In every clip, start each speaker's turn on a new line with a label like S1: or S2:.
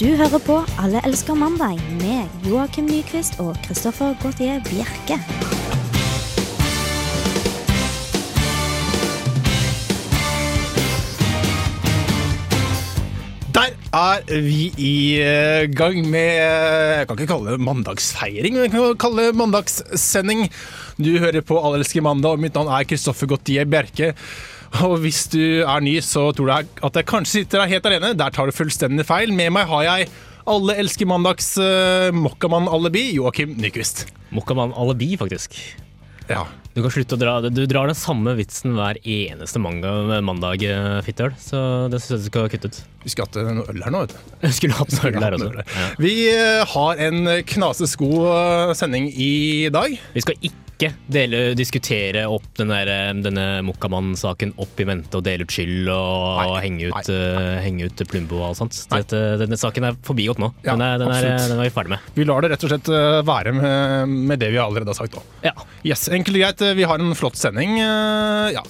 S1: Du hører på Alle elsker mandag med Joakim Nyquist og Christoffer Gautier Bjerke.
S2: Der er vi i eh, gang med eh, Jeg kan ikke kalle det mandagsfeiring, men jeg kan kalle det mandagssending. Du hører på Allelske mandag, og mitt navn er Kristoffer Gautier Bjerke. Og hvis du er ny, så tror jeg at jeg kanskje sitter her helt alene. Der tar du fullstendig feil. Med meg har jeg alle elsker mandags uh, mokkamann-alibi, Joakim Nyquist.
S3: Mokkamann alibi, faktisk.
S2: Ja.
S3: Du kan slutte å dra Du drar den samme vitsen hver eneste manga mandag, eh, fittøl. Så det syns jeg du skal kutte ut.
S2: Vi skulle hatt eh, noe øl her nå, vet du.
S3: Jeg skulle hatt noe øl her
S2: Noe øl
S3: også.
S2: her.
S3: Ja.
S2: Vi eh, har en knasegod eh, sending i dag.
S3: Vi skal ikke dele, diskutere opp den der, eh, denne Mokkamann-saken opp i mente og dele ut skyld og, og
S2: Nei,
S3: henge ut,
S2: nei,
S3: eh, henge ut Plumbo og alt sånt.
S2: Nei.
S3: Dette, denne saken er forbigått nå.
S2: Ja,
S3: Den er, den, er,
S2: absolutt.
S3: den er vi ferdig med.
S2: Vi lar det rett og slett eh, være med, med det vi allerede har sagt. Da.
S3: Ja.
S2: Yes, Enkelt og greit, eh, vi har en flott sending. eh, Ja,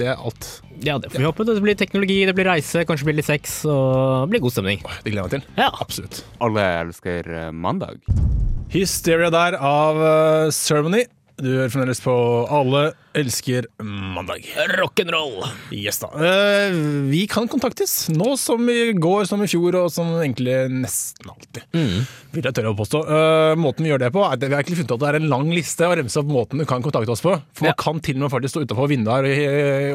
S2: det er alt.
S3: ja, det får vi håpe. Det blir teknologi, det blir reise, kanskje blir litt sex og det blir god stemning.
S2: Åh, Det gleder jeg meg til.
S3: Ja.
S2: Absolutt.
S4: Alle elsker eh, mandag.
S2: Hysteria der av eh, Ceremony. Du hører fremdeles på Alle elsker mandag.
S3: Rock'n'roll!
S2: Yes da. Eh, Vi kan kontaktes nå som i går, som i fjor og som egentlig nesten alltid.
S3: Mm.
S2: Vil jeg tørre å påstå. Eh, Måten vi gjør det på, er at vi har egentlig funnet ut at det er en lang liste å remse opp måten du kan kontakte oss på. For man
S3: Ja.
S2: kan til og med faktisk stå utafor vinduet her og,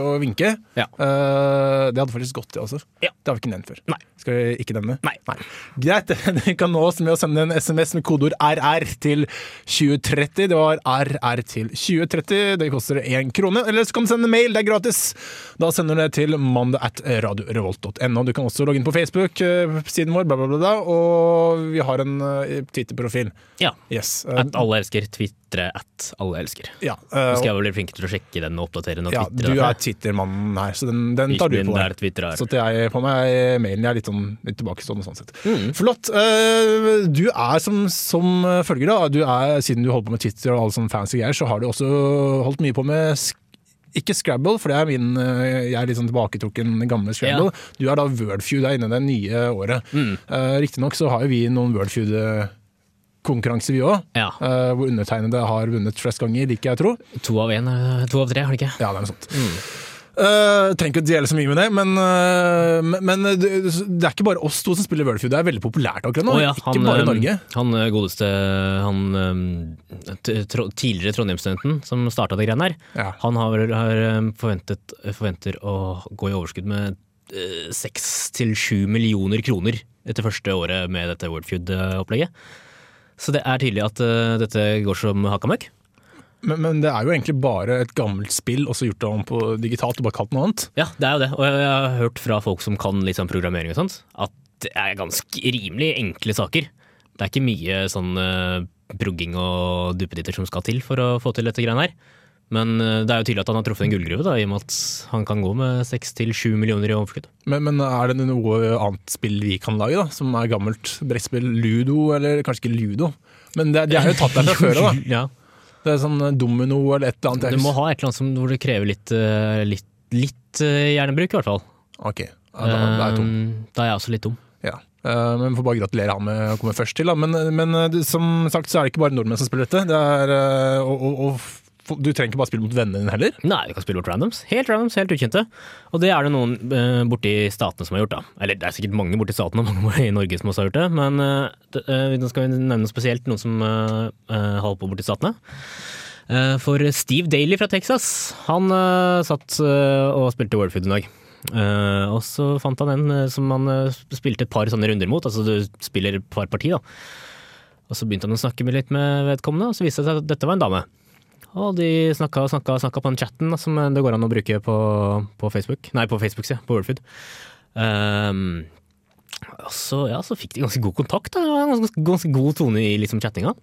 S2: og vinke.
S3: Ja.
S2: Eh, Det hadde faktisk gått, det også.
S3: Ja.
S2: Det har vi ikke nevnt før.
S3: Nei.
S2: Skal vi ikke nevne?
S3: Nei.
S2: Greit, du kan nå oss med å sende en SMS med kodeord RR til 2030. Det var RR til 2030. Det koster én krone. Eller så kan du sende en mail, det er gratis. Da sender du det til mandag at radiorevolt.no. Du kan også logge inn på Facebook-siden vår, bla, bla, bla, bla. Og vi har en eh, Twitter-profil.
S3: Ja.
S2: Yes. eh,
S3: At alle elsker. Twitre at alle elsker.
S2: ja,
S3: Nå
S2: eh,
S3: skal jeg vel bli flinkere til å sjekke den og oppdatere den og
S2: ja,
S3: twitre.
S2: du er Twitter-mannen her, så den, den tar du på deg. Så
S3: deg.
S2: at jeg på meg mailen. Jeg er litt, sånn, litt tilbakestående sånn sett.
S3: Mm.
S2: Flott. Eh, Du er som, som følger, da. Du er, siden du holder på med Twitter og alle sånne fancy greier, så har du også holdt mye på med sk ikke Scrabble, for det er min eh, Jeg er litt sånn tilbaketrukken gamle Scrabble. Du er da Wordfeud der inne det nye året. Mm. Riktignok så har jo vi noen Wordfeud-konkurranser, vi òg.
S3: Ja.
S2: hvor undertegnede har vunnet flest ganger, liker jeg å tro.
S3: To av en, eh, to av tre, har det ikke?
S2: Ja, det er noe sånt. Eh, trenger ikke å dele så mye med det, men, eh, men- men det, det er ikke bare oss to som spiller Wordfeud. Det er veldig populært akkurat nå.
S3: Å ja,
S2: ikke bare
S3: eh,
S2: Norge.
S3: Han eh, godeste han eh, t- tro, tidligere Trondheimsstudenten som starta det greiene her,
S2: Ja.
S3: han har, vel- har eh, forventet, forventer å gå i overskudd med eh, seks til sju millioner kroner etter første året med dette Wordfeud-opplegget. Så det er tydelig at eh, dette går som hakka møkk.
S2: Men, men det er jo egentlig bare et gammelt spill, og så gjort det om på digitalt og bare kalt noe annet.
S3: Ja, det er jo det. Og jeg jeg har hørt fra folk som kan litt sånn programmering og sånt, at det er ganske rimelig enkle saker. Det er ikke mye sånn eh, brugging og duppeditter som skal til for å få til dette greiene her. Men eh, det er jo tydelig at han har truffet en gullgruve, da, i og med at han kan gå med seks til sju millioner i overskudd.
S2: Men, men er det noe annet spill vi kan lage, da? Som er gammelt brettspill? Ludo, eller kanskje ikke ludo? Men det, de er jo tatt der fra før av, da.
S3: Ja.
S2: Det er sånn domino eller et eller annet.
S3: Du må ha et eller annet som, hvor det krever litt, eh, litt, litt eh, hjernebruk, i hvert fall.
S2: Ok, ja, da, det er tungt.
S3: Eh, da er jeg også litt dum.
S2: Ja. Eh, Men vi får bare gratulere han med å komme først til. Da. Men, men eh, som sagt så er det ikke bare nordmenn som spiller dette. Det er, eh, og, og, og f- du trenger ikke bare spille mot vennene dine heller.
S3: Nei, du kan spille bort randoms. Helt randoms, helt ukjente. Og det er det noen eh, borti statene som har gjort, da. Eller det er sikkert mange borti statene og mange borti Norge som også har gjort det, men eh, det, eh, nå skal vi nevne spesielt noen som eh, eh, holder på borti statene. Eh, for Steve Daly fra Texas, han eh, satt eh, og spilte Worldfood en dag. Eh, og så fant han en eh, som han eh, spilte et par sånne runder mot, altså du spiller et par parti, da. Og så begynte han å snakke med litt med vedkommende, og så viste det seg at dette var en dame. Og de snakka og snakka og snakka på den chatten da, som det går an å bruke på, på Facebook. Nei, på Facebook, sier jeg. På Worldfood. Ehm, og så, ja, så fikk de ganske god kontakt. Da. Det var en Ganske, ganske god tone i liksom, chattinga.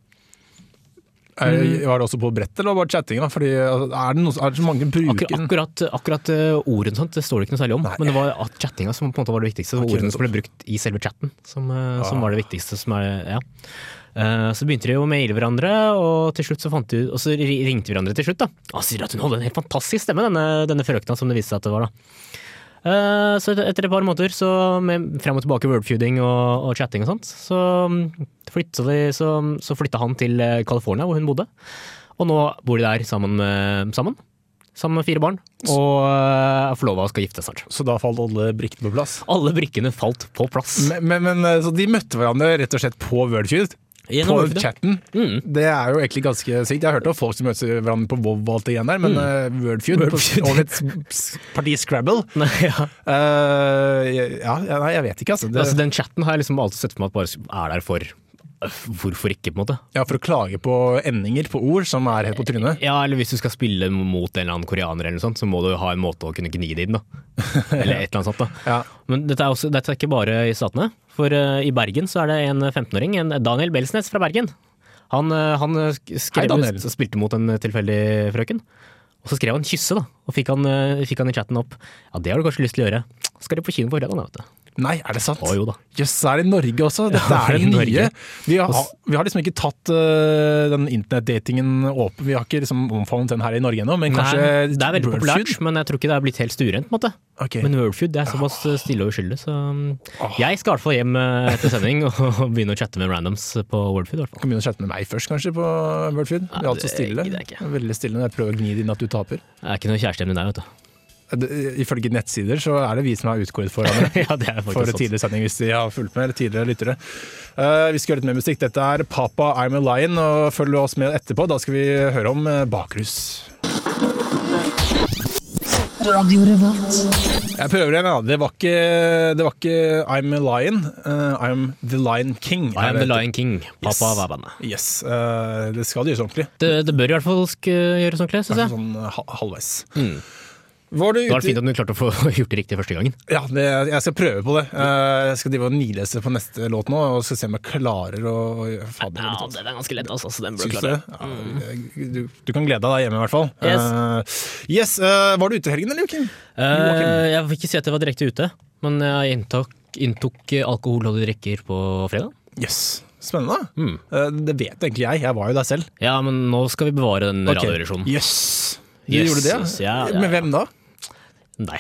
S2: Er,
S3: Mm.
S2: Var det også på brett eller var det bare chatting? Da? Fordi, altså, er, det noe, er det så mange som bruker
S3: Akkurat,
S2: den?
S3: akkurat, akkurat eh, ordene sånt, det står det ikke noe særlig om,
S2: Nei.
S3: men det var at chattinga som på en måte var det viktigste.
S2: Ok,
S3: og ordene som ble
S2: nettopp.
S3: brukt i selve chatten, som, eh,
S2: Ah.
S3: som var det viktigste. Som er, ja. Eh, så begynte de å maile hverandre, og til slutt så fant de, og så ri- ringte vi hverandre til slutt. da. Og så sier de at hun hadde en helt fantastisk stemme, denne, denne frøkna som det viste seg at det var. da. Eh, Så et- etter et par måneder, så med frem og tilbake wordfeuding og, og chatting og sånt, så mm, flytta, de, så, så flytta han til eh, California, hvor hun bodde. Og nå bor de der sammen med, sammen, sammen med fire barn, og eh, er forlova og skal gifte seg snart.
S2: Så da falt alle brikkene på plass.
S3: Alle brikkene falt på plass.
S2: Men, men, men eh, så de møtte hverandre rett og slett på Wordfeud? På
S3: Gjennom wordfeud, ja.
S2: chatten?
S3: Mm.
S2: Det er jo egentlig ganske sykt. Jeg har hørt om folk som møter hverandre på WoW og alt det igjen der, men mm. Wordfeud
S3: Wordfeud.
S2: på- over et s- parti Scrabble
S3: Nei, ja.
S2: eh, ja, ja, Nei, jeg vet ikke, altså. Det,
S3: altså, den chatten har jeg liksom alltid sett for meg at bare er der for Hvorfor ikke, på en måte?
S2: ja, for å klage på endinger på ord som er helt på trynet.
S3: Ja, eller hvis du skal spille mot en eller annen koreaner, eller noe sånt, så må du ha en måte å kunne gni det inn, da. Eller et eller annet sånt. da.
S2: Ja.
S3: Men dette er, også, dette er ikke bare i Statene. For eh, i Bergen så er det en 15-åring, en eh, Daniel Belsnes fra Bergen. Han, eh, han sk-
S2: Hei,
S3: skrev,
S2: Daniel.
S3: s- spilte mot en eh, tilfeldig frøken. Og så skrev han 'kysse', da. Og fikk han, eh, fikk han i chatten opp 'ja, det har du kanskje lyst til å gjøre'. Skal du på kino på fredag, da, vet du.
S2: Nei, er det sant?
S3: Å jo da.
S2: Jøss, er det i Norge også? Dette
S3: Ja,
S2: er det
S3: i Norge.
S2: nye. Vi har, vi har liksom ikke tatt eh, den internettdatingen åpen, vi har ikke liksom omfavnet den her i Norge ennå, men kanskje
S3: Nei, det er veldig
S2: Wordfeud?
S3: populært, men jeg tror ikke det er blitt helt stuerent, på en måte.
S2: Ok.
S3: Men Worldfood det er såpass stille og uskyldig, så um, jeg skal i hvert fall hjem eh, etter sending og begynne å chatte med randoms på Worldfood. i hvert fall.
S2: Kan begynne å chatte med meg først, kanskje, på Wordfeud. Vi er
S3: Nei,
S2: alt så
S3: det
S2: stille.
S3: gidder jeg ikke.
S2: Veldig stille når jeg prøver å gni det inn at du taper.
S3: Jeg er ikke noe kjæreste med deg, vet du.
S2: Det- Ifølge nettsider så er det vi som er utkåret for hverandre.
S3: ja, det er
S2: For
S3: faktisk sant.
S2: tidligere sending, hvis de har fulgt med, eller tidligere lyttere. Eh, vi skal høre litt mer musikk. Dette er Papa I'm a Lion, og følg oss med etterpå. Da skal vi høre om eh, bakrus.
S5: Radio Revolt.
S2: Jeg prøver igjen, ja. Det var ikke, det var ikke I'm a Lion. eh, I'm The Lion King.
S3: I am
S2: er
S3: the
S2: det det
S3: Lion King. Pappa
S2: Yes.
S3: var bandet.
S2: heter. Yes. eh, det skal det gjøres ordentlig.
S3: Det, det bør i hvert fall sk- gjøres ordentlig, syns
S2: Kanskje
S3: jeg.
S2: sånn eh, ha- halvveis.
S3: Mm.
S2: Var du
S3: Det var
S2: ute
S3: fint om du klarte å få gjort det riktig første gangen.
S2: Ja, det, jeg skal prøve på det. Eh, jeg skal drive og nilese på neste låt nå, og skal se om jeg klarer å å- Fader, det er litt vanskelig.
S3: er ganske lett, altså. Så den
S2: Syns du det?
S3: Mm.
S2: Ja, eh, du, du kan glede deg der hjemme, i hvert fall. Eh, yes, eh, Var du ute i helgen, eller, Joakim?
S3: Eh, jeg vil ikke si at jeg var direkte ute, men jeg inntok, inntok alkoholholdige drikker på fredag.
S2: Yes. Spennende.
S3: Mm.
S2: Eh, det vet egentlig jeg. Jeg var jo der selv.
S3: Ja, men nå skal vi bevare den
S2: Ok.
S3: radiorevisjonen.
S2: Yes. Du
S3: Yes,
S2: gjorde det?
S3: yes, ja, ja,
S2: Med
S3: ja.
S2: hvem da?
S3: Nei.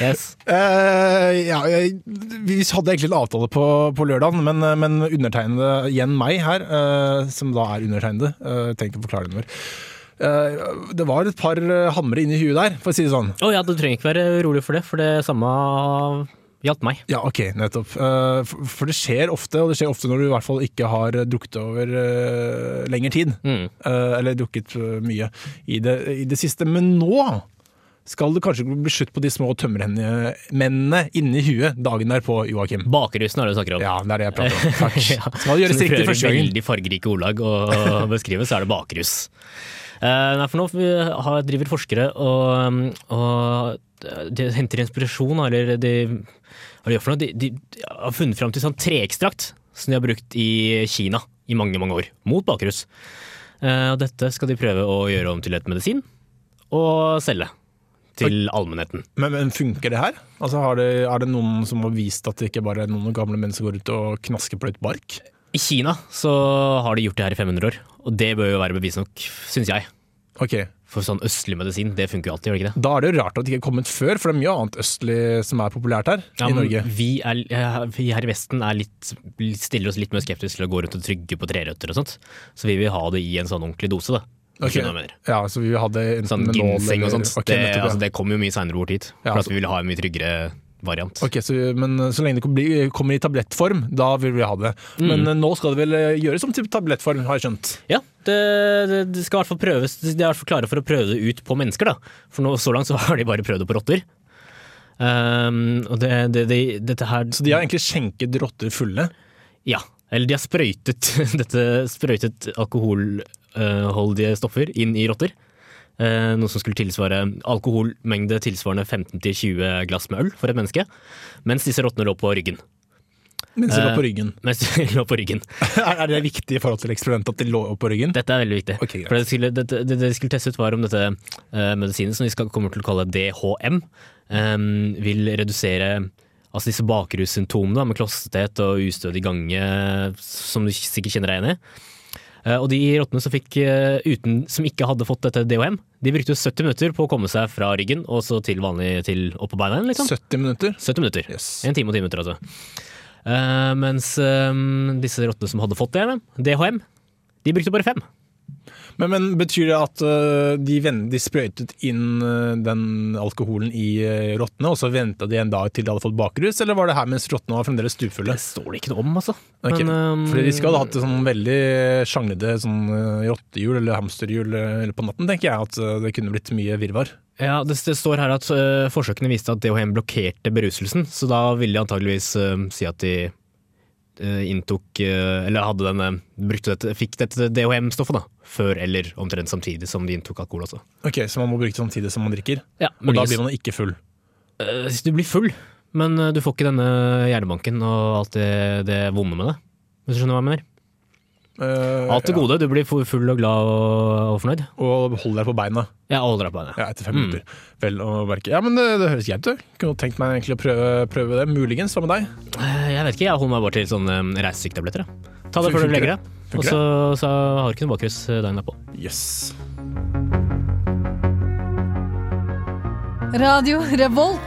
S3: yes.
S2: Eh, ja, jeg, vi hadde egentlig en avtale på, på lørdagen, men, eh, men undertegnede, igjen meg her, eh, som da er undertegnede, uh, tenkte å forklare det noe. Eh, det var et par eh, hamre inni huet der, for å si det sånn.
S3: Å ja, du trenger ikke være urolig for det, for det samme gjaldt meg.
S2: Ja, ok, nettopp. Eh, for, for det skjer ofte, og det skjer ofte når du i hvert fall ikke har eh, drukket over eh, lengre tid.
S3: Mm.
S2: Eh, eller drukket eh, mye i det, i det siste. Men nå skal det kanskje bli slutt på de små tømmermennene inni huet dagen derpå, Joakim.
S3: Bakrusen er det du snakker om.
S2: Ja, det er det jeg prater om. Takk.
S3: Ja.
S2: Skal det gjøres
S3: Så du
S2: riktig
S3: prøver
S2: første gangen?
S3: Veldig fargerike ordlag å beskrive, så er det bakrus. Eh, nei, for nå vi har, driver forskere og, og de henter inspirasjon, eller de, hva de gjør for noe, de, de har funnet fram til sånn treekstrakt som de har brukt i Kina i mange, mange år, mot bakrus. Eh, og dette skal de prøve å gjøre om til et medisin, og selge til allmennheten.
S2: Men, men funker det her? Altså, har det, er det noen som har vist at det ikke bare er noen gamle menn som går ut og knasker på litt bark?
S3: I Kina så har de gjort det her i 500 år, og det bør jo være bevis nok, syns jeg.
S2: Ok,
S3: For sånn østlig medisin, det funker jo alltid, gjør det ikke det?
S2: Da er det jo rart at det ikke er kommet før, for det er mye annet østlig som er populært her i
S3: Ja, men
S2: Norge.
S3: Vi, er, eh, vi her i Vesten er litt, stiller oss litt mer skeptiske til å gå rundt og trygge på trerøtter og sånt. Så vi vil ha det i en sånn ordentlig dose, da.
S2: Ok.
S3: Hvis du skjønner hva jeg mener.
S2: Ja, så vi hadde en
S3: Sånn
S2: med nål
S3: ginseng og
S2: eller-
S3: sånt.
S2: Ok,
S3: det,
S2: nettopp, ja.
S3: altså, det kom jo mye seinere bort hit.
S2: Ja,
S3: for
S2: altså-
S3: at vi ville ha en mye tryggere variant.
S2: Ok, så, Men så lenge det blir- kommer i tablettform, da vil vi ha det.
S3: Mm.
S2: Men eh, nå skal det vel eh, gjøres om til tablettform, har jeg skjønt.
S3: Ja, det, det, det skal i hvert fall prøves. De er i hvert fall klare for å prøve det ut på mennesker, da. For nå, så langt så har de bare prøvd det på rotter. Ehm, og det, det, det, dette her
S2: Så de har egentlig skjenket rotter fulle.
S3: Ja, eller de har sprøytet, dette, sprøytet alkoholholdige stoffer inn i rotter. Eh, noe som skulle tilsvare alkoholmengde tilsvarende 15-20 glass med øl for et menneske. Mens disse rottene lå på ryggen.
S2: Mens de lå
S3: Eh.
S2: på ryggen.
S3: Mens de lå på ryggen.
S2: er det viktig i forhold til eksperimentet at de lå på ryggen?
S3: Dette er veldig viktig.
S2: Ok, greit.
S3: for det, skulle, det, det de skulle teste ut, var om dette eh, medisinen, som de skal, kommer til å kalle DHM, eh, vil redusere altså disse bakrussymptomene da, med klossethet og ustødig gange, som du sikkert kjenner deg igjen i. Eh, og de rottene som, fikk, eh, uten, som ikke hadde fått dette DHM, De brukte jo 70 minutter på å komme seg fra ryggen og så til vanlig til opp på beina igjen, liksom.
S2: 70 minutter.
S3: 70 minutter.
S2: Yes.
S3: En time og 10 minutter, altså. Eh, mens eh, disse rottene som hadde fått DNM, DHM, de brukte bare fem.
S2: Men, men betyr det at øh, de, ven- de sprøytet inn øh, den alkoholen i øh, rottene, og så venta de en dag til de hadde fått bakrus, eller var det her mens rottene var fremdeles stufulle?
S3: Det står det ikke noe om, altså.
S2: Ok,
S3: Men, eh,
S2: Fordi de skal ha hatt det sånn veldig sjanglede sånn øh, rottehjul eller hamsterhjul øh, eller på natten, tenker jeg at øh, det kunne blitt mye virvar.
S3: Ja, det, det står her at eh, forsøkene viste at DHM blokkerte beruselsen, så da ville de antageligvis eh, si at de eh, inntok eh, Eller hadde den, eh, brukte dette, fikk dette DHM-stoffet, da. Før eller omtrent samtidig som de inntok alkohol også.
S2: Ok, Så man må bruke det samtidig som man drikker,
S3: Ja,
S2: og da blir man ikke full.
S3: Eh, Du blir full, men eh, du får ikke denne hjernebanken og alt det, det vonde med det. Hvis du skjønner hva jeg mener.
S2: Eh,
S3: Alt det
S2: ja,
S3: gode. Du blir fu- full og glad og, og fornøyd.
S2: Og holder deg på beina
S3: Ja, og holder deg på beina.
S2: ja, etter fem
S3: Mm.
S2: minutter. Vel å merke. Ja, men det, det høres greit ut. Kunne tenkt meg egentlig å prøve, prøve det. Muligens. Hva med deg?
S3: Eh, Jeg vet ikke, jeg holder meg bare til sånne um, reisesyketabletter. da. Ta
S2: Fun-
S3: det før du
S2: funker
S3: legger
S2: det?
S3: deg, og
S2: Funker
S3: så, så har du ikke noe bakrus eh, dagen derpå.
S2: Yes.
S6: Radio Revolt.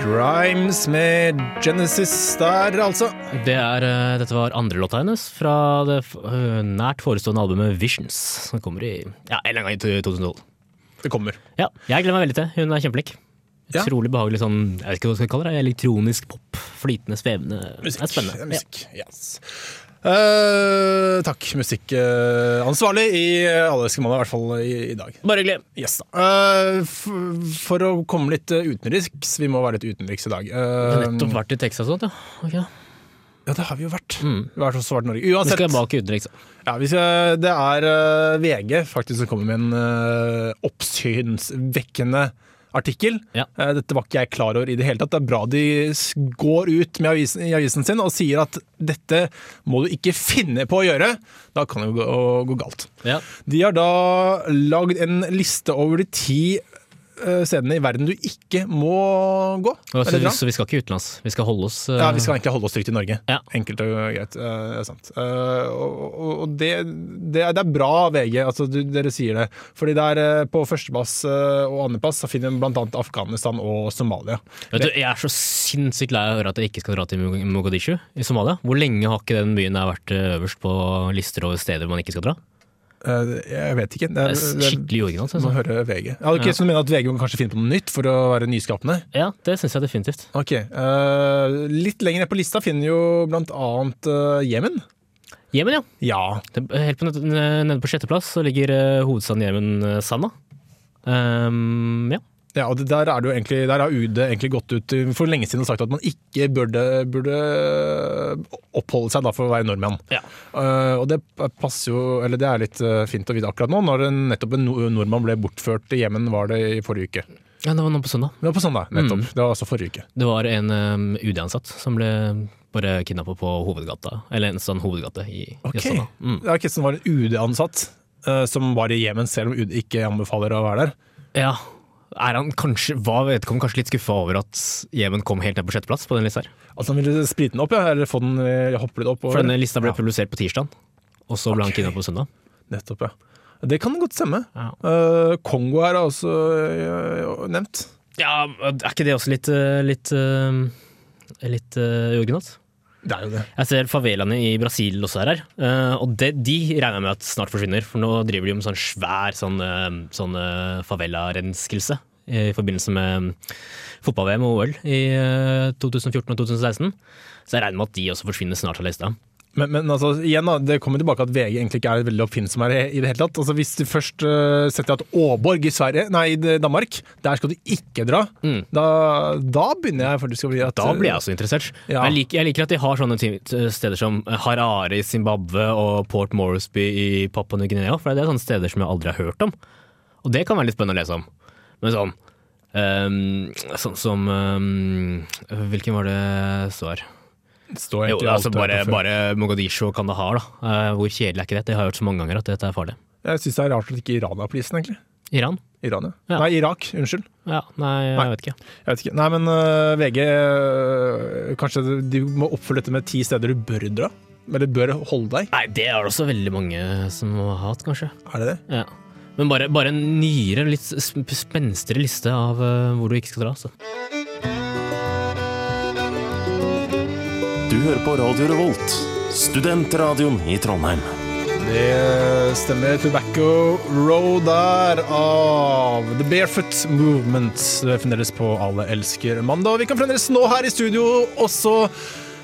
S2: Grimes med Genesis der, altså.
S3: Det er, eh, dette var andre låta hennes fra det f- eh, nært forestående albumet Visions, som kommer i ja, en eller annen gang i to- 2012.
S2: Det kommer.
S3: Ja, jeg gleder meg veldig til. Hun er kjempeflink.
S2: Ja.
S3: Utrolig behagelig sånn, jeg vet ikke hva jeg skal kalle det, elektronisk pop. Flytende, svevende.
S2: Det
S3: Det er
S2: er
S3: spennende.
S2: Musikk. Yes. Eh, takk, musikkansvarlig i alle skamaler, i hvert fall i, i dag.
S3: Ja. Bare hyggelig.
S2: Yes, da. Eh, f for å komme litt eh, utenriks, vi må være litt utenriks i dag.
S3: Jeg
S2: Eh,
S3: har nettopp vært i Texas og sånt, ja. Ok, ja.
S2: ja, det har vi jo vært.
S3: Mm.
S2: Vi har også vært Norge.
S3: Nå skal
S2: Uansett,
S3: jeg bak liksom. i utenriks.
S2: ja, vi skal, det er eh, VG faktisk som kommer med en eh, oppsynsvekkende artikkel.
S3: Ja.
S2: Eh, Dette var ikke jeg klar over i det hele tatt. Det er bra de s- går ut med avisen, i avisen sin og sier at dette må du ikke finne på å gjøre. Da kan det jo gå, gå galt.
S3: Ja.
S2: De har da lagd en liste over de ti eh, stedene i verden du ikke må gå.
S3: Og
S2: Er det
S3: så,
S2: bra?
S3: så vi skal ikke utenlands. Vi skal holde oss eh,
S2: Ja, Vi skal egentlig holde oss trygt i Norge.
S3: Ja.
S2: Enkelt og greit. eh, det er sant. Eh, og og- og det, det, er, det er bra, VG, altså, du, dere sier det. Fordi det er eh, på førsteplass eh, og andreplass så finner vi bl.a. Afghanistan og Somalia.
S3: Vet du, jeg er så sinnssykt lei av å høre at jeg ikke skal dra til Mog- Mogadishu i Somalia. Hvor lenge har ikke den byen der vært eh, øverst på lister over steder man ikke skal dra?
S2: Eh, jeg vet ikke. Det
S3: Det
S2: er,
S3: er
S2: det
S3: skikkelig originalt.
S2: er, må
S3: Altså.
S2: høre VG. Ja, ok,
S3: Ja.
S2: Så du mener at VG må kanskje finne på noe nytt for å være nyskapende?
S3: Ja, det syns jeg definitivt.
S2: Ok, eh, Litt lenger ned på lista finner vi jo bl.a. eh, Jemen.
S3: Jemen, ja.
S2: Ja.
S3: Det, helt på, ned- nede på sjetteplass så ligger eh, hovedstaden Jemen, eh, Sanaa. Ehm, ja.
S2: Ja, og det der, er det jo egentlig, der har UD egentlig gått ut for lenge siden og sagt at man ikke burde, burde oppholde seg da for å være nordmann.
S3: Ja.
S2: Eh, og det passer jo, eller det er litt eh, fint å vite akkurat nå, når en, nettopp en no- nordmann ble bortført til Jemen var det i forrige uke.
S3: ja, det var nå på søndag.
S2: Det var på søndag,
S3: Mm.
S2: nettopp. Det var altså forrige uke.
S3: Det var en eh, UD-ansatt som ble bare kidnappa på hovedgata, eller en sånn hovedgate i, i Sanaa. Mm.
S2: Det er ikke sånn det var en UD-ansatt eh, som var i Jemen, selv om UD ikke anbefaler å være der.
S3: Ja. Er han kanskje, var vedkommende kanskje litt skuffa over at Jemen kom helt ned på sjetteplass på den lista her?
S2: Altså han ville sprite den opp, ja, eller få den, eh, hoppe litt opp. og-
S3: For denne lista ble
S2: Ja,
S3: publisert på tirsdag, og så ble han kidnappet på søndag.
S2: nettopp, ja. Det kan godt stemme.
S3: Ja.
S2: Eh, Kongo er også eh, nevnt.
S3: Er ikke det også litt eh, litt, eh, litt eh, uoriginalt?
S2: Det er jo det.
S3: Jeg ser favelaene i Brasil også er her, eh, og det, de regner jeg med at snart forsvinner. For nå driver de jo med sånn svær sånn, eh, sånn eh, favela-renskelse i forbindelse med eh, fotball-VM og OL i eh, 2014 og 2016. Så jeg regner med at de også forsvinner snart av lista.
S2: Men, men altså, igjen da, det kommer tilbake at VG egentlig ikke er veldig oppfinnsom her i i det hele tatt. Altså, hvis du først eh, setter at Åborg i Sverige, nei, i Danmark, der skal du ikke dra,
S3: Mm.
S2: da, da begynner jeg faktisk å bli at
S3: Da blir jeg også interessert.
S2: Ja.
S3: Jeg, liker, jeg liker at de har sånne ting- steder som Harare i Zimbabwe og Port Moresby i Papua Ny-Guinea. For det er sånne steder som jeg aldri har hørt om. Og det kan være litt spennende å lese om. Men sånn ehm, Sånn som ehm, Hvilken var det så her?
S2: eh, Står
S3: Jo,
S2: egentlig alt
S3: altså
S2: det
S3: bare,
S2: på før.
S3: bare Mogadishu og Kandahar, da. Eh, Hvor kjedelig er ikke det? Det har jeg hørt så mange ganger at dette er farlig.
S2: Jeg syns det er rart at ikke Iran er på listen, egentlig.
S3: Iran?
S2: Iran, ja.
S3: Ja.
S2: Nei, Irak. Unnskyld.
S3: Ja, nei,
S2: Nei.
S3: jeg vet ikke.
S2: Jeg vet ikke. Nei, men eh, VG eh, Kanskje de må oppfylle dette med ti steder du bør dra? Eller bør holde deg?
S3: Nei, det er det også veldig mange som har hatt, kanskje.
S2: Er det det?
S3: Ja. Men bare, bare en nyere, litt sp- spenstigere liste av eh, hvor du ikke skal dra. Så.
S6: Du hører på Radio Revolt, studentradioen i Trondheim.
S2: Det stemmer. Tobacco Road der av The Barefoot Movement. Det er Fremdeles på Alle elsker mandag. Og vi kan fremdeles nå her i studio også.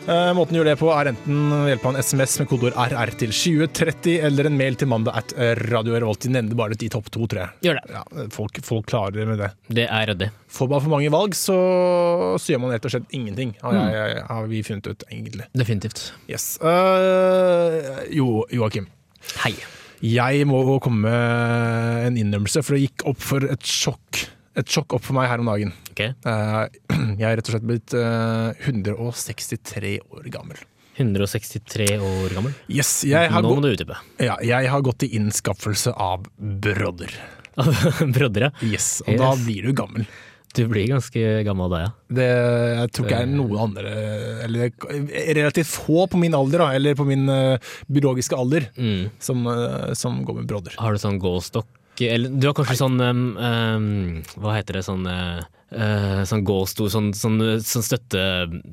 S2: Eh, måten du gjør det på er enten ved hjelp av en SMS med kodeord RR til 2030, eller en mail til mandag at eh, Radio Revolt. De nevner bare de topp to, tror jeg.
S3: Gjør det.
S2: Ja, folk, folk klarer med det.
S3: Det er ryddig.
S2: Får man for mange valg, så, så gjør man rett og slett ingenting, har, jeg, har vi funnet ut, egentlig.
S3: Definitivt.
S2: Yes. Eh, jo, Joakim.
S3: Hei.
S2: Jeg må komme med en innrømmelse, for det gikk opp for et sjokk. Et sjokk opp for meg her om dagen.
S3: Ok.
S2: Eh, Jeg er rett og slett blitt eh, 163 år gammel.
S3: 163 år gammel.
S2: Yes, jeg har,
S3: Nå
S2: gå-
S3: må du utdype.
S2: ja, jeg har gått i innskaffelse av brodder.
S3: Brodder, ja.
S2: Yes, og da
S3: Yes.
S2: blir du gammel.
S3: Du blir ganske gammel da, ja.
S2: Det jeg tror ikke jeg er
S3: Eh.
S2: noen andre Eller relativt få på min alder, da, eller på min eh, biologiske alder,
S3: Mm.
S2: som, eh, som går med brodder.
S3: Har du sånn gåstokk? Eller du har kanskje sånn em, em, Hva heter det? Sånn, eh, eh, sånn gåstol, sånn, sånn, sånn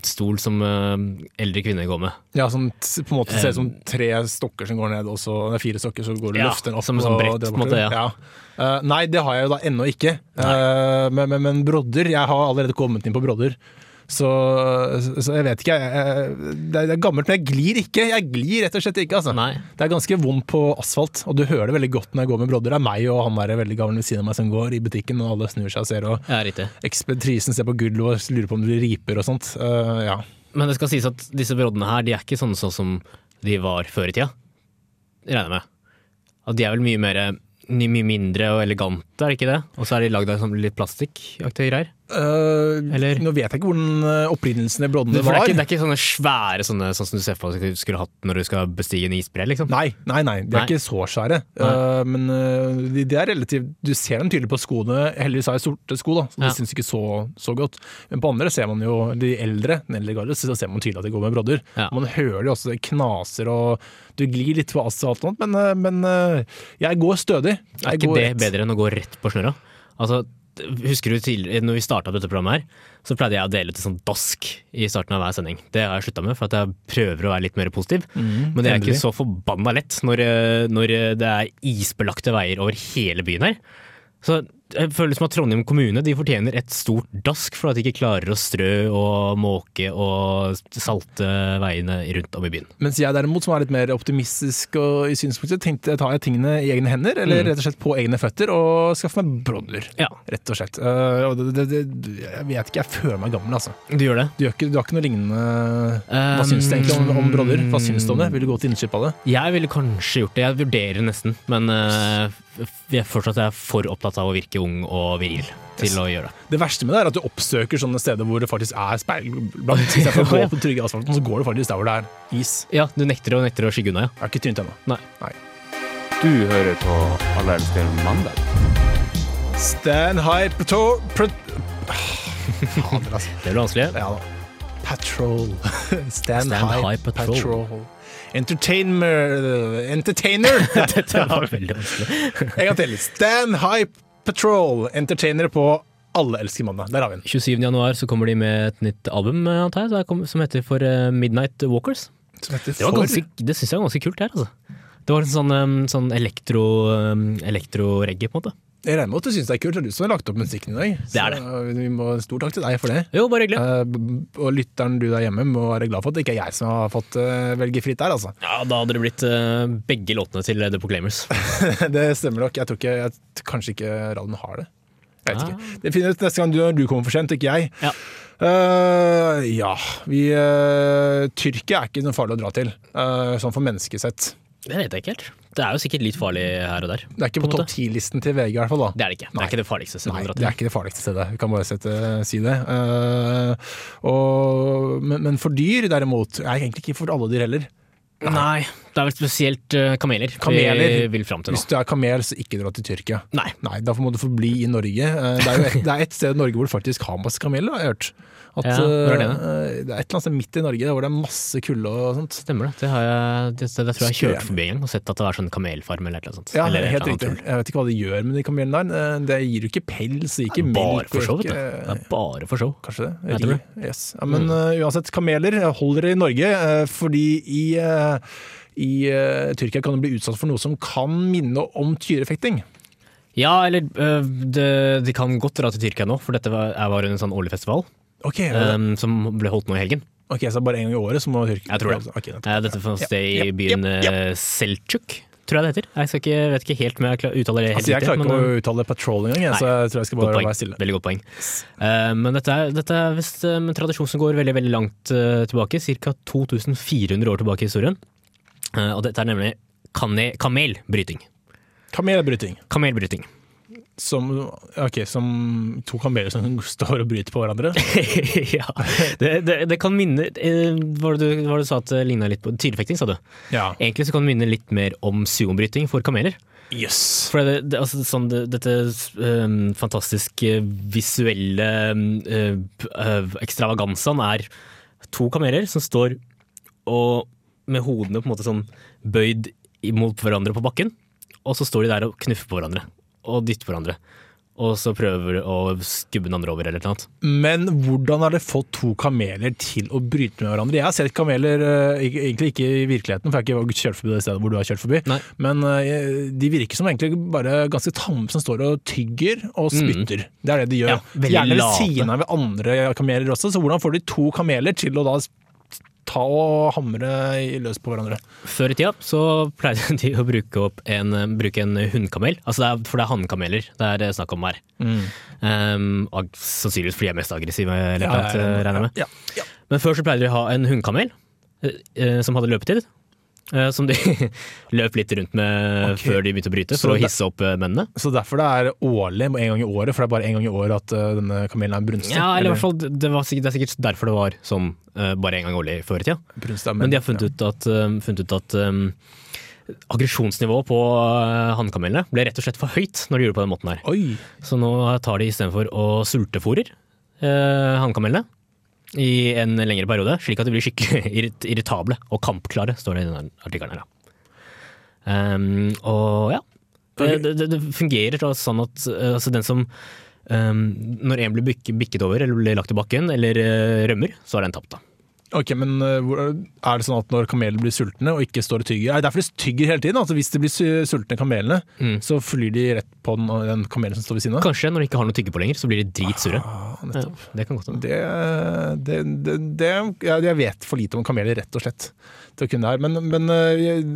S3: støttestol som em, eldre kvinner går med.
S2: Ja, som t- på en måte ser ut som tre stokker som går ned, og så det er fire stokker, så går du
S3: Eh, Ja,
S2: og løfter den opp.
S3: som en sånn
S2: og
S3: brett,
S2: drar
S3: på en måte,
S2: bortover.
S3: ja.
S2: Eh, nei, det har jeg jo da ennå ikke. Eh, men, men, men brodder Jeg har allerede kommet inn på brodder. Så, så jeg vet ikke. Jeg, jeg, det er- det er gammelt, men jeg glir ikke. Jeg glir rett og slett ikke. Altså.
S3: Nei.
S2: Det er ganske vondt på asfalt, og du hører det veldig godt når jeg går med brodder. Det er meg og han der veldig gamle ved siden av meg som går i butikken, og alle snur seg og ser, og
S3: Ja, riktig.
S2: ekspeditrisen ser på gulvet og lurer på om det riper og sånt. Eh, ja.
S3: Men det skal sies at disse broddene her, de er ikke sånne sånn som de var før i tida. Regner jeg med. At de er vel mye mer ny- mye mindre og elegante, er det ikke det? Og så er de lagd av sånn litt plastikkaktige greier.
S2: Eh,
S3: Eller-
S2: Nå vet jeg ikke hvordan eh, opprinnelsen i broddene
S3: Det, for det,
S2: var.
S3: er ikke, det er ikke sånne svære sånne, sånn som du ser for deg at du skulle hatt når du skal bestige en isbre, liksom.
S2: Nei, nei, nei, de er
S3: Nei.
S2: ikke så svære. Eh, men eh, de, de er relativt Du ser dem tydelig på skoene. Heldigvis har jeg sorte sko, da, så
S3: Ja.
S2: det syns ikke så, så godt. Men på andre ser man jo de eldre, den eldre garde, så ser man tydelig at de går med brodder.
S3: Ja.
S2: Man hører det også, det knaser og Du glir litt på asfalt og sånt, men, eh, men eh, jeg går stødig. Jeg
S3: Er ikke
S2: går
S3: det
S2: rett.
S3: bedre enn å gå rett på snørra? Altså, husker du tidligere, når vi starta dette programmet her, så pleide jeg å dele ut en sånn dask i starten av hver sending. Det har jeg slutta med, for at jeg prøver å være litt mer positiv. Men det er ikke
S2: Mm, endelig.
S3: så forbanna lett når, eh, når eh, det er isbelagte veier over hele byen her. Så jeg føler som at Trondheim kommune de fortjener et stort dask for at de ikke klarer å strø og måke og salte veiene rundt om i byen.
S2: Mens jeg derimot, som er litt mer optimistisk og i synspunktet, tenkte tar jeg tingene i egne hender, eller
S3: Mm.
S2: rett og slett på egne føtter, og skaffer meg brodder.
S3: Ja,
S2: Rett og slett. Eh, og det, det, det, jeg vet ikke, jeg føler meg gammel, altså.
S3: du gjør det.
S2: Du, gjør ikke, du har ikke noe lignende Hva syns du egentlig om, om brodder? Hva syns du om det? Vil du gå til innkjøp av det?
S3: Jeg ville kanskje gjort det. Jeg vurderer nesten. Men eh, f- jeg er fortsatt er for opptatt av å virke ung og viril til å gjøre det.
S2: Det verste med det er at du oppsøker sånne steder hvor det faktisk er speilblankt. Istedenfor å gå på den trygge asfalten, så går du faktisk der hvor det er is.
S3: Ja, du nekter og nekter å skygge unna, ja.
S2: Jeg har ikke tynt ennå.
S3: Nei.
S4: Du hører på Alle elsker mandag.
S2: Stan High Patrol Pr- Fader, altså.
S3: Det blir vanskelig.
S2: Ja da. Patrol. Stand,
S3: Stand
S2: High,
S3: High Patrol.
S2: Patrol. Entertainer Entertainer!
S3: Dette var veldig vanskelig.
S2: en gang til. Stand High Patrol. Entertainer på Alle elsker mandag. Der har vi den.
S3: 27. januar så kommer de med et nytt album, eh, antar jeg, så her kom- som heter For eh, Midnight Walkers.
S2: Som heter
S3: Det, var
S2: For.
S3: ganske, det syns jeg var ganske kult, det her, altså. Det var en sånn, eh, sånn elektro, eh, elektro-reggae, på en måte.
S2: Jeg regner med at du syns det er kult. Det er du som har lagt opp musikken i dag.
S3: Det er det.
S2: Så eh, vi må Stor takk til deg for det.
S3: Jo, bare hyggelig.
S2: Eh, b- og lytteren du der hjemme må være glad for at det ikke er jeg som har fått eh, velge fritt der, altså.
S3: Ja, da hadde det blitt eh, begge låtene til The Proclaimers.
S2: Det stemmer nok. Jeg tror ikke, jeg, t- kanskje ikke radioen har det. Jeg vet
S3: Ah.
S2: ikke. Det finner vi ut neste gang du, du kommer for sent, ikke jeg.
S3: Ja.
S2: Eh, ja, vi eh, Tyrkia er ikke noe farlig å dra til, eh, sånn for menneskesett.
S3: Det vet jeg ikke helt. Det er jo sikkert litt farlig her og der.
S2: Det er ikke
S3: På
S2: på,
S3: en måte.
S2: topp ti-listen til VG, i hvert fall. da.
S3: Det er det ikke. Det
S2: Nei.
S3: er ikke det farligste stedet
S2: Nei,
S3: å dra
S2: det er
S3: til.
S2: ikke det farligste stedet. Vi kan bare sette, si det. Eh, og, men, men for dyr, derimot, er egentlig ikke for alle dyr heller.
S3: Nei, Det er vel spesielt eh, kameler,
S2: Kameler.
S3: vi vil fram til nå.
S2: Hvis du er kamel, så ikke dra til Tyrkia.
S3: Nei.
S2: Nei, Derfor må du få bli i Norge. Eh, Det er jo et, det er et sted i Norge hvor det faktisk har masse kameler, har jeg hørt. At,
S3: Ja, hvor er det da?
S2: eh, det er et eller annet sted midt i Norge hvor det er masse kulde og sånt.
S3: Stemmer det. Det, har jeg, det, det, tror jeg jeg har
S2: Skrem.
S3: kjørt forbi en gang og sett at det er sånn kamelfarm eller et eller annet. sånt.
S2: Ja,
S3: eller et
S2: helt
S3: eller annet
S2: riktig.
S3: tull.
S2: Jeg vet ikke hva de gjør med de kamelene der. Eh, Det gir jo ikke pels, det gir ikke
S3: Bare
S2: melk.
S3: for show,
S2: og
S3: vet du.
S2: ikke-
S3: Det er bare for show.
S2: Kanskje det.
S3: Jeg tror
S2: Ri. Yes. Ja, men
S3: Mm.
S2: eh, uansett, kameler holder dere i Norge, eh, fordi i, eh, i eh, Tyrkia kan du bli utsatt for noe som kan minne om tyrefekting.
S3: Ja, eller øh, det, de kan godt dra til Tyrkia nå, for dette var, jeg var under en sånn årlig festival
S2: Ok,
S3: øhm, som ble holdt nå i helgen.
S2: ok, så bare en gang i året så må Tyrkia
S3: Jeg tror det.
S2: Ok, nettopp.
S3: Eh, Dette fant
S2: Ja,
S3: sted i
S2: ja,
S3: byen
S2: ja,
S3: eh, Seltsjuk, tror jeg det heter. Jeg skal ikke, vet ikke helt om jeg klar, uttaler det helt
S2: Altså, jeg klarer
S3: riktig.
S2: ikke
S3: men, eh,
S2: å uttale patrol engang, jeg,
S3: Nei,
S2: så jeg tror jeg skal
S3: Godt
S2: bare
S3: poeng.
S2: være stille.
S3: Veldig godt poeng. Eh, men dette er, dette er visst eh, en tradisjon som går veldig veldig langt eh, tilbake, ca. 2400 år tilbake i historien. Eh, og dette er nemlig kane, kamelbryting.
S2: Kamelbryting.
S3: Kamelbryting.
S2: Som, ok, som to kameler som står og bryter på hverandre.
S3: ja, det, det, det kan minne eh, Hva var det du, hva var det du sa at det ligna litt på Tyrefekting, sa du.
S2: Ja.
S3: Egentlig så kan det minne litt mer om suombryting for kameler.
S2: Yes.
S3: For det, det, altså, sånn, det, dette øhm, fantastiske visuelle øh, øh, ekstravagansaen er to kameler som står og med hodene på en måte sånn bøyd mot hverandre på bakken, og så står de der og knuffer på hverandre og dytter på hverandre. Og så prøver å skubbe den andre over eller noe annet.
S2: Men hvordan har dere fått to kameler til å bryte med hverandre? Jeg har sett kameler, eh, ikke- egentlig ikke i virkeligheten, for jeg har ikke kjørt forbi det stedet hvor du har kjørt forbi.
S3: Nei.
S2: Men eh, de virker som egentlig bare ganske tamme som står og tygger og spytter. Det er det de gjør.
S3: Mm. Ja, veldig
S2: Gjerne ved
S3: late.
S2: siden av andre kameler også, så hvordan får de to kameler til å da s- ta og hamre i- løs på hverandre?
S3: Før i tida så pleide de å bruke, opp en, eh, bruke en hundkamel, altså det er, for det er hannkameler det er eh, snakk om her. Um, ag- sannsynligvis fordi de er mest aggressive, eller noe annet, eh, regner jeg med.
S2: Ja, ja.
S3: Men før så pleide de å ha en hundkamel eh, eh, som hadde løpetid. eh, som de løp litt rundt med eh,
S2: Ok.
S3: før de begynte å bryte,
S2: Så
S3: for å
S2: det-
S3: hisse opp eh, mennene.
S2: Så derfor det er årlig, en gang i året, for det er bare en gang i året at eh, denne kamelen er brunstig.
S3: Ja, eller i hvert fall, det, var sikkert, det er sikkert derfor det var sånn eh, bare en gang årlig før i tida.
S2: brunstig,
S3: Men de har funnet ut at, um, funnet ut at um, aggresjonsnivået på uh, hannkamelene ble rett og slett for høyt når de gjorde det på den måten her.
S2: Oi!
S3: Så nå tar de istedenfor å sultefòrer uh, hannkamelene i en lengre periode, slik at de blir skikkelig irrit irritable og kampklare, står det i denne artikkelen her. da. Um, og ja. Det, det, det fungerer da sånn at uh, altså den som um, Når en blir bikk- bikket over eller blir lagt i bakken eller uh, rømmer, så har den tapt, da.
S2: Ok, men eh, hvor- Er det sånn at når kameler blir sultne og ikke står og tygger Er det derfor de tygger hele tiden? Altså Hvis de blir su- sultne, kamelene, så flyr de rett på den, den kamelen som står ved siden av?
S3: Kanskje når de ikke har noe å tygge på lenger, så blir de dritsure.
S2: Ah,
S3: Ja,
S2: nettopp.
S3: det kan godt hende.
S2: Det, det, det, det ja, Jeg vet for lite om kameler, rett og slett. Til å kunne det her. Men, men eh, jeg-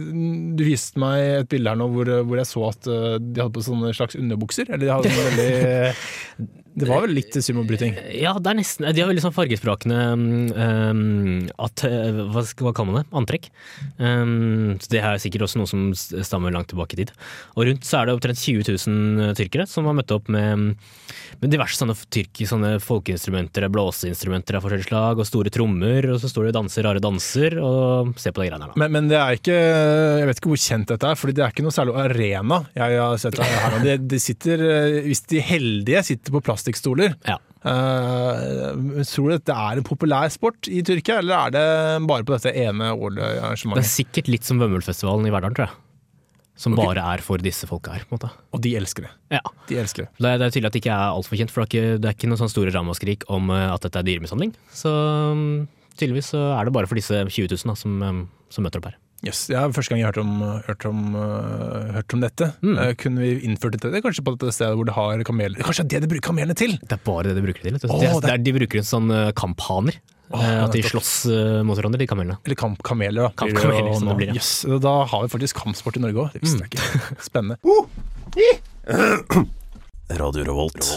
S2: du viste meg et bilde her nå hvor, hvor jeg så at eh, de hadde på sånne slags underbukser. Eller de hadde sånne veldig Det var vel litt sumobryting.
S3: Ja, det er nesten De har veldig sånn fargesprakende um, at, hva, skal- hva kaller man det? Antrekk. Um, så det er sikkert også noe som stammer langt tilbake i tid. Og rundt så er det opptrent 20 000 eh, tyrkere som har møtt opp med, med diverse sånne tyrki- sånne folkeinstrumenter, blåseinstrumenter av forskjellige slag, og store trommer, og så står de og danser rare danser, og ser på de greiene her, da.
S2: Men, men det er ikke, jeg vet ikke hvor kjent dette er, Fordi det er ikke noe særlig arena. Jeg har sett det her nå. de, de sitter, eh, Hvis de heldige sitter på plastikkstoler
S3: Ja.
S2: Eh, men Tror du dette er en populær sport i Tyrkia, eller er det bare på dette ene årlige
S3: Det er
S2: arrangementet?
S3: sikkert litt som Vømmølfestivalen i Verdalen, tror jeg. Som bare er for disse folka her, på en måte.
S2: Og de elsker det.
S3: Ja.
S2: De elsker det.
S3: Det er, det er tydelig at det ikke er altfor kjent, for det er ikke, det er ikke noen sånn store ramaskrik om eh, at dette er dyremishandling. Så mm, tydeligvis så er det bare for disse 20 000 da, som, eh, som møter opp her.
S2: Yes, det er første gang jeg har hørt om, hørt om, eh, hørt om dette.
S3: Mm.
S2: Eh, kunne vi innført dette det er kanskje på dette stedet hvor det har kameler? Kanskje det er det de bruker kamelene til?
S3: Det er bare det de bruker det til. vet du.
S2: Åh,
S3: det, er-
S2: det
S3: det er, de bruker en sånn eh, kamphaner.
S2: Åh,
S3: eh, at de
S2: nettopp.
S3: slåss eh, mot hverandre, de kamelene.
S2: Eller kampkameler, da. blir det
S3: Kampkameler,
S2: jo
S3: som det
S2: nå.
S3: blir, ja. Mm.
S2: Yes, da har vi faktisk kampsport i Norge òg. Det visste jeg ikke. Spennende.
S6: Radio Revolt.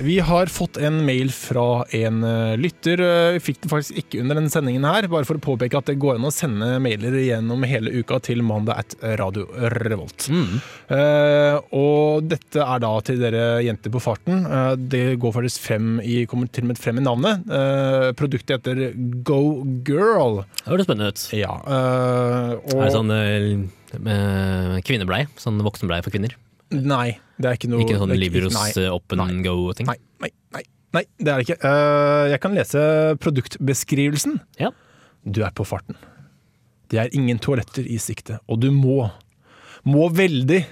S2: Vi har fått en mail fra en eh, lytter. Eh, Vi fikk den faktisk ikke under denne sendingen her, bare for å påpeke at det går an å sende mailer gjennom hele uka til mandag at Radio Revolt. Eh, og dette er da til dere jenter på farten. Eh, det går faktisk frem i, kommer til og med frem i navnet. Eh, produktet heter Go Girl.
S3: Det høres spennende ut.
S2: Ja, eh, og
S3: Er det sånn eh, eh, kvinnebleie? Sånn voksenbleie for kvinner?
S2: Nei, det er ikke noe
S3: Ikke sånn
S2: det er
S3: Liberos
S2: nei.
S3: eh, up and go-ting?
S2: Nei, nei, nei, nei, det er det ikke. Eh, jeg kan lese produktbeskrivelsen.
S3: Ja.
S2: Du er på farten. Det er ingen toaletter i sikte, og du må, må veldig.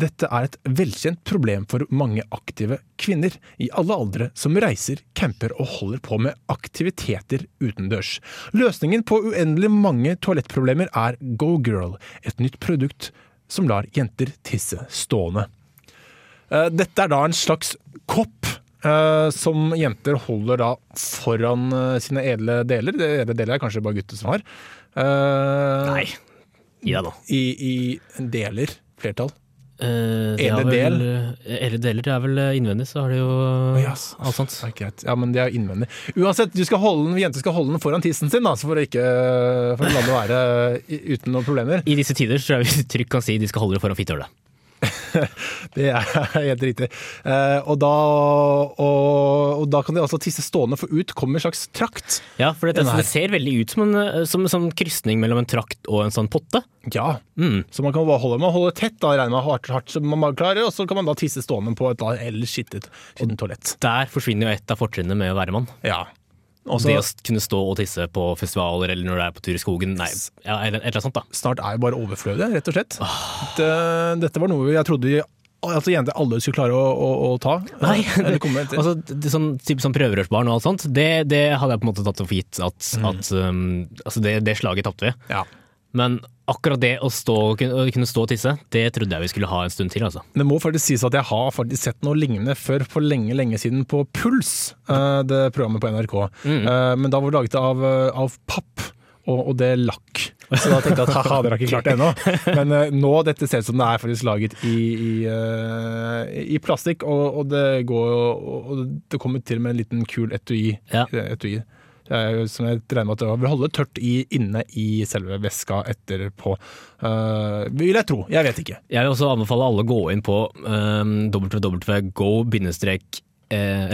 S2: Dette er et velkjent problem for mange aktive kvinner i alle aldre som reiser, camper og holder på med aktiviteter utendørs. Løsningen på uendelig mange toalettproblemer er Go Girl, et nytt produkt som lar jenter tisse stående. Eh, Dette er da en slags kopp eh, som jenter holder da foran eh, sine edle deler. Det edle deler er kanskje bare gutter som har. Eh,
S3: Nei. Gi deg, da.
S2: I, I deler, flertall.
S3: Eh, de
S2: Er
S3: har
S2: det
S3: vel- eh, Er det deler? Det er vel eh, innvendig, så har de jo eh,
S2: yes.
S3: alt sånt.
S2: Det er greit. Ja, men det er innvendig. Uansett, du skal holde den, jenter skal holde den foran tissen sin, da, så for å ikke for å la det være eh, i- uten noen problemer.
S3: I disse tider så tror jeg vi trygt kan si de skal holde det foran fittehullet.
S2: Det er helt riktig. Eh, og, da, og, og da kan de altså tisse stående, for ut kommer en slags trakt.
S3: Ja, for det,
S2: Den her.
S3: det ser veldig ut som en, eh, som en sånn krysning mellom en trakt og en sånn potte.
S2: Ja,
S3: Mm.
S2: Så man kan bare holde, man holder tett, da, regner man hardt, hardt som man bare klarer, og så kan man da tisse stående på et da ellers skittet skittent toalett.
S3: Der forsvinner jo et av fortrinnene med å være mann.
S2: Ja. Og
S3: det
S2: så
S3: å s- kunne stå og tisse på festivaler eller når du er på tur i skogen. Nei, ja, eller et eller annet sånt, da.
S2: snart er jo bare overflødig, rett og slett. Det, dette var noe jeg trodde vi- altså, jenter alle skulle klare å, å, å ta.
S3: Nei,
S2: Eller komme til.
S3: Altså, det, sånn, typ, sånn prøverørsbarn og alt sånt, det, det hadde jeg på en måte tatt for gitt at, at um, altså det, det slaget tapte vi.
S2: ja.
S3: Men akkurat det å, stå, å kunne- å kunne stå og tisse, det trodde jeg vi skulle ha en stund til, altså.
S2: Det må faktisk sies at jeg har faktisk sett noe lignende før for lenge lenge siden på Puls, eh, det programmet på NRK.
S3: Mm.
S2: Eh, Men da var det laget av, eh, av papp. Og, og det lakk. Så da tenkte jeg at haha, dere har ikke klart det ennå. Men eh, nå, dette ser ut som det er faktisk laget i, i, eh, i plastikk, og, og det går jo og- Og det kommer til og med en liten kul etui.
S3: Ja.
S2: etui eh, som jeg regner med at det vil holde tørt i, inne i selve veska etterpå. Eh, vil jeg tro. Jeg vet ikke.
S3: Jeg vil også anbefale alle å gå inn på um, eh,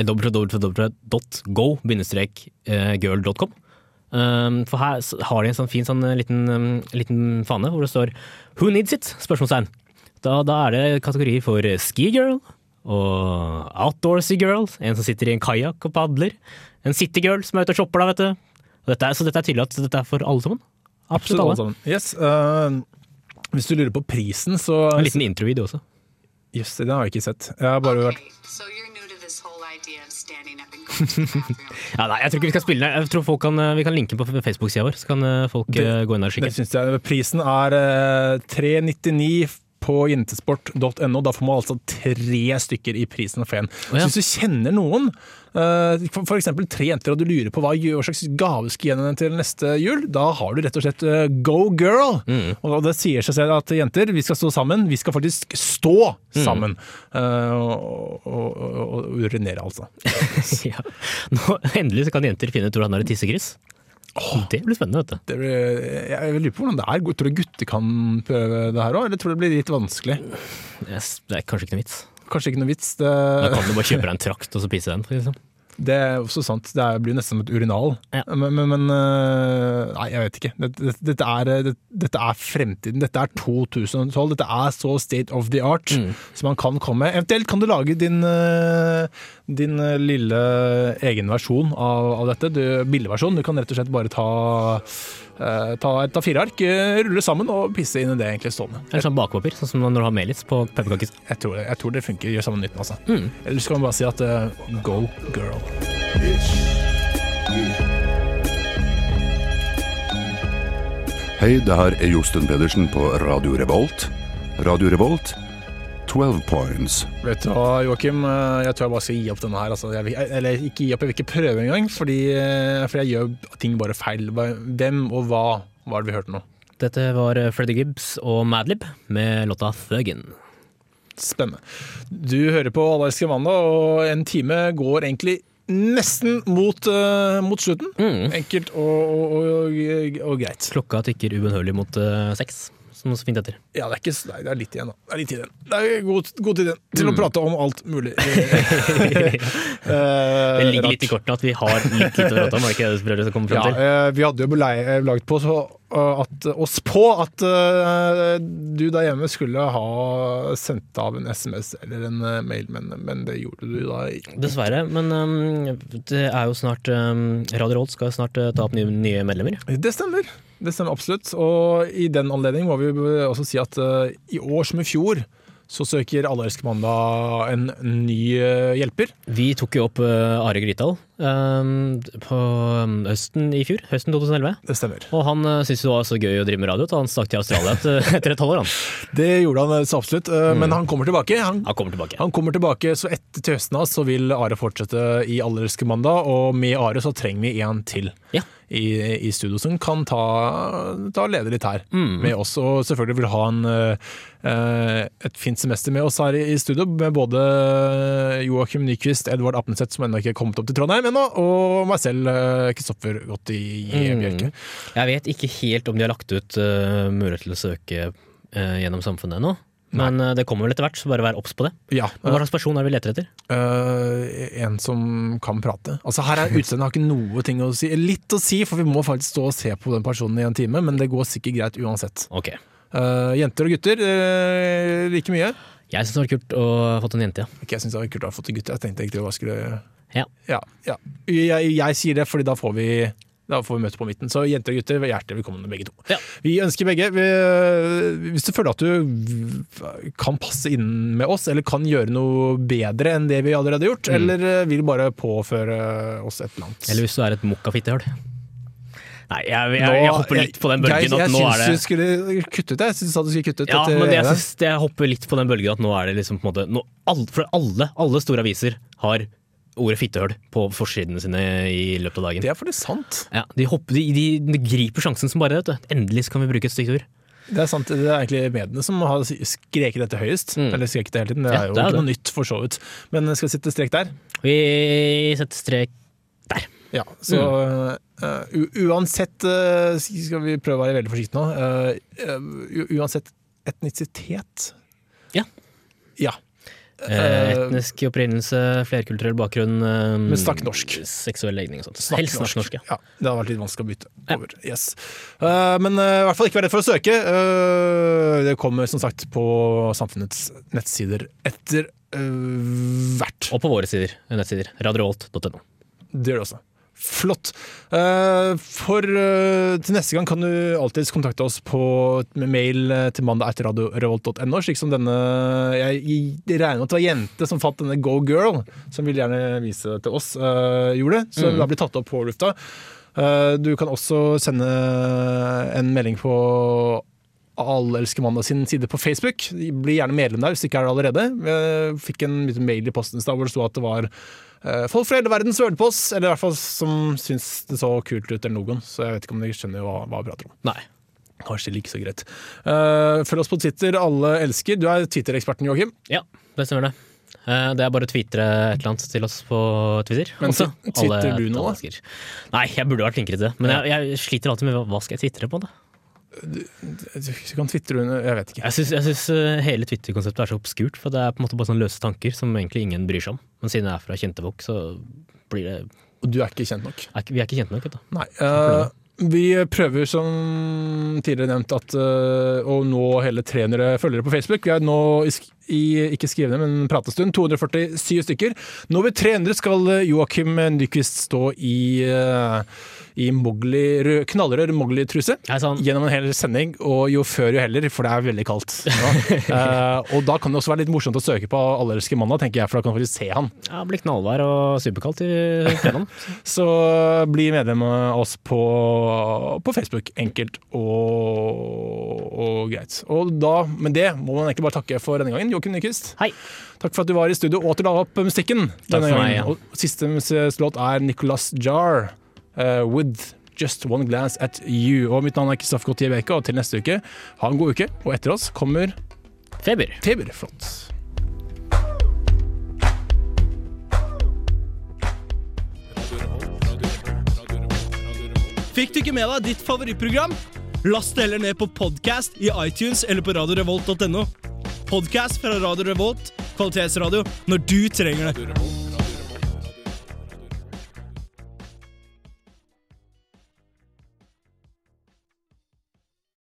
S3: eh, www.go-girl.com. Um, for her s- har de en sånn fin sånn, eh, liten, um, liten fane hvor det står 'Who needs it?' spørsmålstegn. Da, da er det kategorier for skigirl og outdoorsy girl, en som sitter i en kajakk og padler. En citygirl som er ute og shopper, da, vet du. Og dette er, så dette er tydelig at dette er for alle sammen. Absolutt alle.
S2: Absolutt alle sammen. Yes, eh, hvis du lurer på prisen, så
S3: En liten Ah, introvideo også.
S2: Jøss, den har jeg ikke sett. Jeg har bare vært
S7: Okay, so you're new to this whole idea of standing up and going to the bathroom.
S3: Ja, nei, jeg tror ikke vi skal spille den. Jeg tror folk kan, eh, Vi kan linke den på Facebook-sida vår, så kan eh, folk
S2: Det-
S3: eh, gå inn der og
S2: det
S3: kikke.
S2: synes jeg. Prisen er eh, 399 på jentesport.no. Da får man altså tre stykker i prisen for en.
S3: Å, ja.
S2: Så hvis du kjenner noen, eh, for for eksempel tre jenter, og du lurer på hva gjør- hva slags gave skal gi henne til neste jul, da har du rett og slett eh, Go Girl!
S3: Mm.
S2: Og det sier seg selv at jenter, vi skal stå sammen. Vi skal faktisk stå
S3: Mm.
S2: sammen! Eh, og, og, og, og urinere, altså.
S3: ja. Nå, endelig så kan jenter finne ut hvordan det er å tisse gris. Det blir spennende, vet du.
S2: Det blir, jeg lurer på hvordan det er. Tror du gutter kan prøve det her òg, eller tror du det blir litt vanskelig?
S3: Jeg s- Det er kanskje ikke noe vits.
S2: Kanskje ikke noe vits.
S3: Da
S2: Det,
S3: kan du bare kjøpe deg en trakt og så pisse den. For eksempel.
S2: det er også sant. Det er- blir nesten som et urinal.
S3: Ja.
S2: Men, men, men øh, Nei, jeg vet ikke. Dette, dette- dette, er, eh, det- dette er fremtiden. Dette er 2012. Dette er så state of the art som man kan komme med. Eventuelt kan du lage din, øh, din øh, lille egen versjon av, av dette. Du, bildeversjon. Du kan rett og slett bare ta øh, Ta et A4-ark, øh, rulle sammen og pisse inn i det egentlig stående.
S3: Eller sånn bakpapir, sånn som når du har melis på pepperkaker.
S2: Jeg tror, det, jeg tror det funker, gjør samme nytten, altså. Ellers kan man bare si at eh, go girl.
S8: Hei, det her er Josten Pedersen på Radio Revolt. Radio Revolt, 12 points.
S2: Vet du hva, Joakim, eh, jeg tror jeg bare skal gi opp denne her. Altså. Jeg, vil- eller ikke gi opp, jeg vil ikke prøve engang, fordi, eh, for jeg gjør ting bare feil. Hva- Hvem og hva var det vi hørte nå?
S3: eh, Dette var Freddy Gibbs og Madlib med låta 'Thuggin'.
S2: Spennende. Du hører på Allerske mandag, og en time går egentlig nesten mot, eh, mot slutten.
S3: Mm.
S2: Enkelt og, og, og, og, og greit.
S3: Klokka tikker ubønnhørlig mot eh, seks, som er så fint heter.
S2: Ja, det er, ikke, nei, det er litt igjen, da. Det er litt tid igjen. Det er god, god tid igjen til
S3: Mm.
S2: å prate om alt mulig. Eh,
S3: Det
S2: det
S3: ligger litt i kortene at vi har litt lite å prate om, er det ikke det du prøver å komme
S2: Ja,
S3: frem til?
S2: eh, vi hadde jo belei- eh, laget på så, eh, at, oss på at eh, du der hjemme skulle ha sendt av en SMS eller en eh, mail, men, men det gjorde du da ikke.
S3: Dessverre, men um, det er jo snart um, Radio Rolt skal snart uh, ta opp nye, nye medlemmer.
S2: Det stemmer. Det stemmer absolutt. Og i den anledning må vi også si at eh, i år som i fjor så søker Allerske mandag en ny eh, hjelper.
S3: Vi tok jo opp uh, Are Grytdal um, på um, høsten i fjor, høsten 2011.
S2: Det stemmer.
S3: Og han uh, syntes det var så gøy å drive med radio at han stakk til Australia et, eh, etter et halvår. Han,
S2: Det gjorde han eh, så absolutt, eh, men han kommer tilbake. Han
S3: han kommer tilbake.
S2: Han kommer tilbake, så etter til høsten av så vil Are fortsette i Allerske mandag, og med Are så trenger vi en til
S3: Ja.
S2: i, i studio som kan ta, ta og lede litt her med oss. Og selvfølgelig vil ha en, eh, et fint semester med oss her i, i studio, med både Joakim Nyquist, Edvard Apneseth, som ennå ikke er kommet opp til Trondheim ennå, og meg selv, eh, Kristoffer Gotti Bjørke.
S3: Jeg vet ikke helt om de har lagt ut uh, mulighet til å søke uh, gjennom samfunnet ennå. Men uh, det kommer vel etter hvert, så bare vær obs på det.
S2: Ja,
S3: Men Hva slags person er det vi leter etter?
S2: Eh, en som kan prate. Altså Her er utseendet har ikke noe ting å si. Litt å si, for vi må faktisk stå og se på den personen i en time, men det går sikkert greit uansett.
S3: Ok.
S2: Eh, jenter og gutter eh, like mye.
S3: Jeg syns det var kult å ha fått en jente, ja.
S2: Ikke jeg syns det var kult å ha fått en gutt. Jeg tenkte egentlig hva skulle
S3: Ja.
S2: Ja, ja. Jeg, jeg sier det, fordi da får vi da får vi møte på midten. Så jenter og gutter, hjertelig velkommen begge to.
S3: Ja.
S2: Vi ønsker begge vi- Hvis du føler at du kan passe inn med oss, eller kan gjøre noe bedre enn det vi allerede har gjort, eller eh, vil bare påføre oss et eller annet.
S3: Mm. Eller hvis du er et mokkafittehøl. Nei, jeg, jeg, jeg, hopper litt på den bølgen
S2: jeg, jeg
S3: at nå er det
S2: syns du skulle kutte ut det. Jeg syns du skulle kutte ut
S3: ja,
S2: dette
S3: men jeg,
S2: ene.
S3: synes, det- jeg hopper litt på den bølgen at nå er det liksom på en måte nå, all, For alle, alle store aviser har ordet fittehøl på forsidene sine i løpet av dagen.
S2: Det er fordi sant.
S3: Ja, de, hopper, de, de, de griper sjansen som bare det. vet du. Endelig så kan vi bruke et stygt ord.
S2: Det er sant, det er egentlig mediene som har skreket dette høyest.
S3: Mm.
S2: Eller skreket det hele tiden. Det
S3: Ja,
S2: er jo
S3: det er
S2: ikke noe nytt, for så vidt. Men skal vi sitte strek der?
S3: Vi setter strek der.
S2: Ja, så
S3: Mm.
S2: eh, u uansett eh, Skal vi prøve å være veldig forsiktige nå. eh, eh, u- uansett etnisitet
S3: Ja.
S2: Ja.
S3: Eh,
S2: Eh,
S3: etnisk opprinnelse, flerkulturell bakgrunn eh,
S2: Men snakk norsk.
S3: Seksuell legning og sånt.
S2: Snakk
S3: Helst snakk norsk. Ja.
S2: Ja, det hadde vært litt vanskelig å bytte
S3: Ja.
S2: over. Yes. Eh, men eh, i hvert fall ikke vær redd for å søke. Eh, det kommer som sagt på samfunnets nettsider etter eh, hvert.
S3: Og på våre sider, nettsider. Radiovolt.no.
S2: Det gjør det også. Flott. Eh, For eh, til neste gang kan du alltids kontakte oss på med mail eh, til mandag etter radiorevolt.no, slik som denne Jeg jeg regner med at det var jente som fant denne Go Girl, som ville gjerne vise det til oss, eh, gjorde det. Så da blir tatt opp på lufta. Eh, Du kan også sende en melding på alle elsker mandag sin side på Facebook. Bli gjerne medlem der hvis du ikke er det allerede. Jeg fikk en liten mail i posten i stad hvor det sto at det var eh, folk fra hele verden som hørte på oss, eller i hvert fall som syns det så kult ut, eller noen. Så jeg vet ikke om de skjønner hva, hva vi prater om.
S3: Nei.
S2: Kanskje like så greit. Eh, følg oss på Twitter, alle elsker. Du er Twitter-eksperten, Joakim.
S3: Ja, det stemmer det. Eh, Det er bare å twitre et eller annet til oss på Twitter.
S2: Men
S3: også.
S2: twi- twitterer
S3: Alle-
S2: du nå, da?
S3: alle elsker. Nei, jeg burde vært flinkere til det. Men jeg, jeg sliter alltid med hva- hva skal jeg twitre på, da.
S2: Du kan twitre under Jeg vet ikke.
S3: Jeg syns, jeg synes eh, hele Twitter-konseptet er så obskurt, for det er på en måte bare sånne løse tanker som egentlig ingen bryr seg om. Men siden jeg er fra kjente folk, så blir det
S2: Og du er ikke kjent nok.
S3: er ikke- Vi er ikke kjente nok, vet du.
S2: Nei. eh, vi prøver som tidligere nevnt at eh, å nå hele 300 følgere på Facebook. Vi er nå i, sk- i ikke skrivende, men pratestund 247 stykker. Når vi 300 skal eh, Joakim Nyquist stå i, eh, i Mowgli- rød- knallrød Mowgli-truse.
S3: Jeg er sånn,
S2: Gjennom en hel sending, og jo før jo heller, for det er veldig kaldt. Ja. Eh, og da kan det også være litt morsomt å søke på Allerske mandag, tenker jeg, for da kan du faktisk se han.
S3: ja, det blir knallvær og superkaldt i fredagen.
S2: Så bli medlem av oss på, på Facebook. Enkelt og, og greit. Og da, med det må man egentlig bare takke for denne gangen, Joakim Nyquist.
S3: Hei.
S2: Takk for at du var i studio og at du la opp musikken.
S3: Takk
S2: denne
S3: for meg,
S2: gangen.
S3: ja.
S2: Og siste museets låt er Nicolas Jar eh, with Just One Glance At You. Og mitt navn er Kristoffer Gautier Bjerke, og til neste uke, ha en god uke. Og etter oss kommer
S3: Feber.
S2: Feber. Flott.
S9: Fikk du ikke med deg ditt favorittprogram? Last det heller ned på podcast i iTunes eller på radiorevolt.no. Podcast fra Radio Revolt, kvalitetsradio, når du trenger det.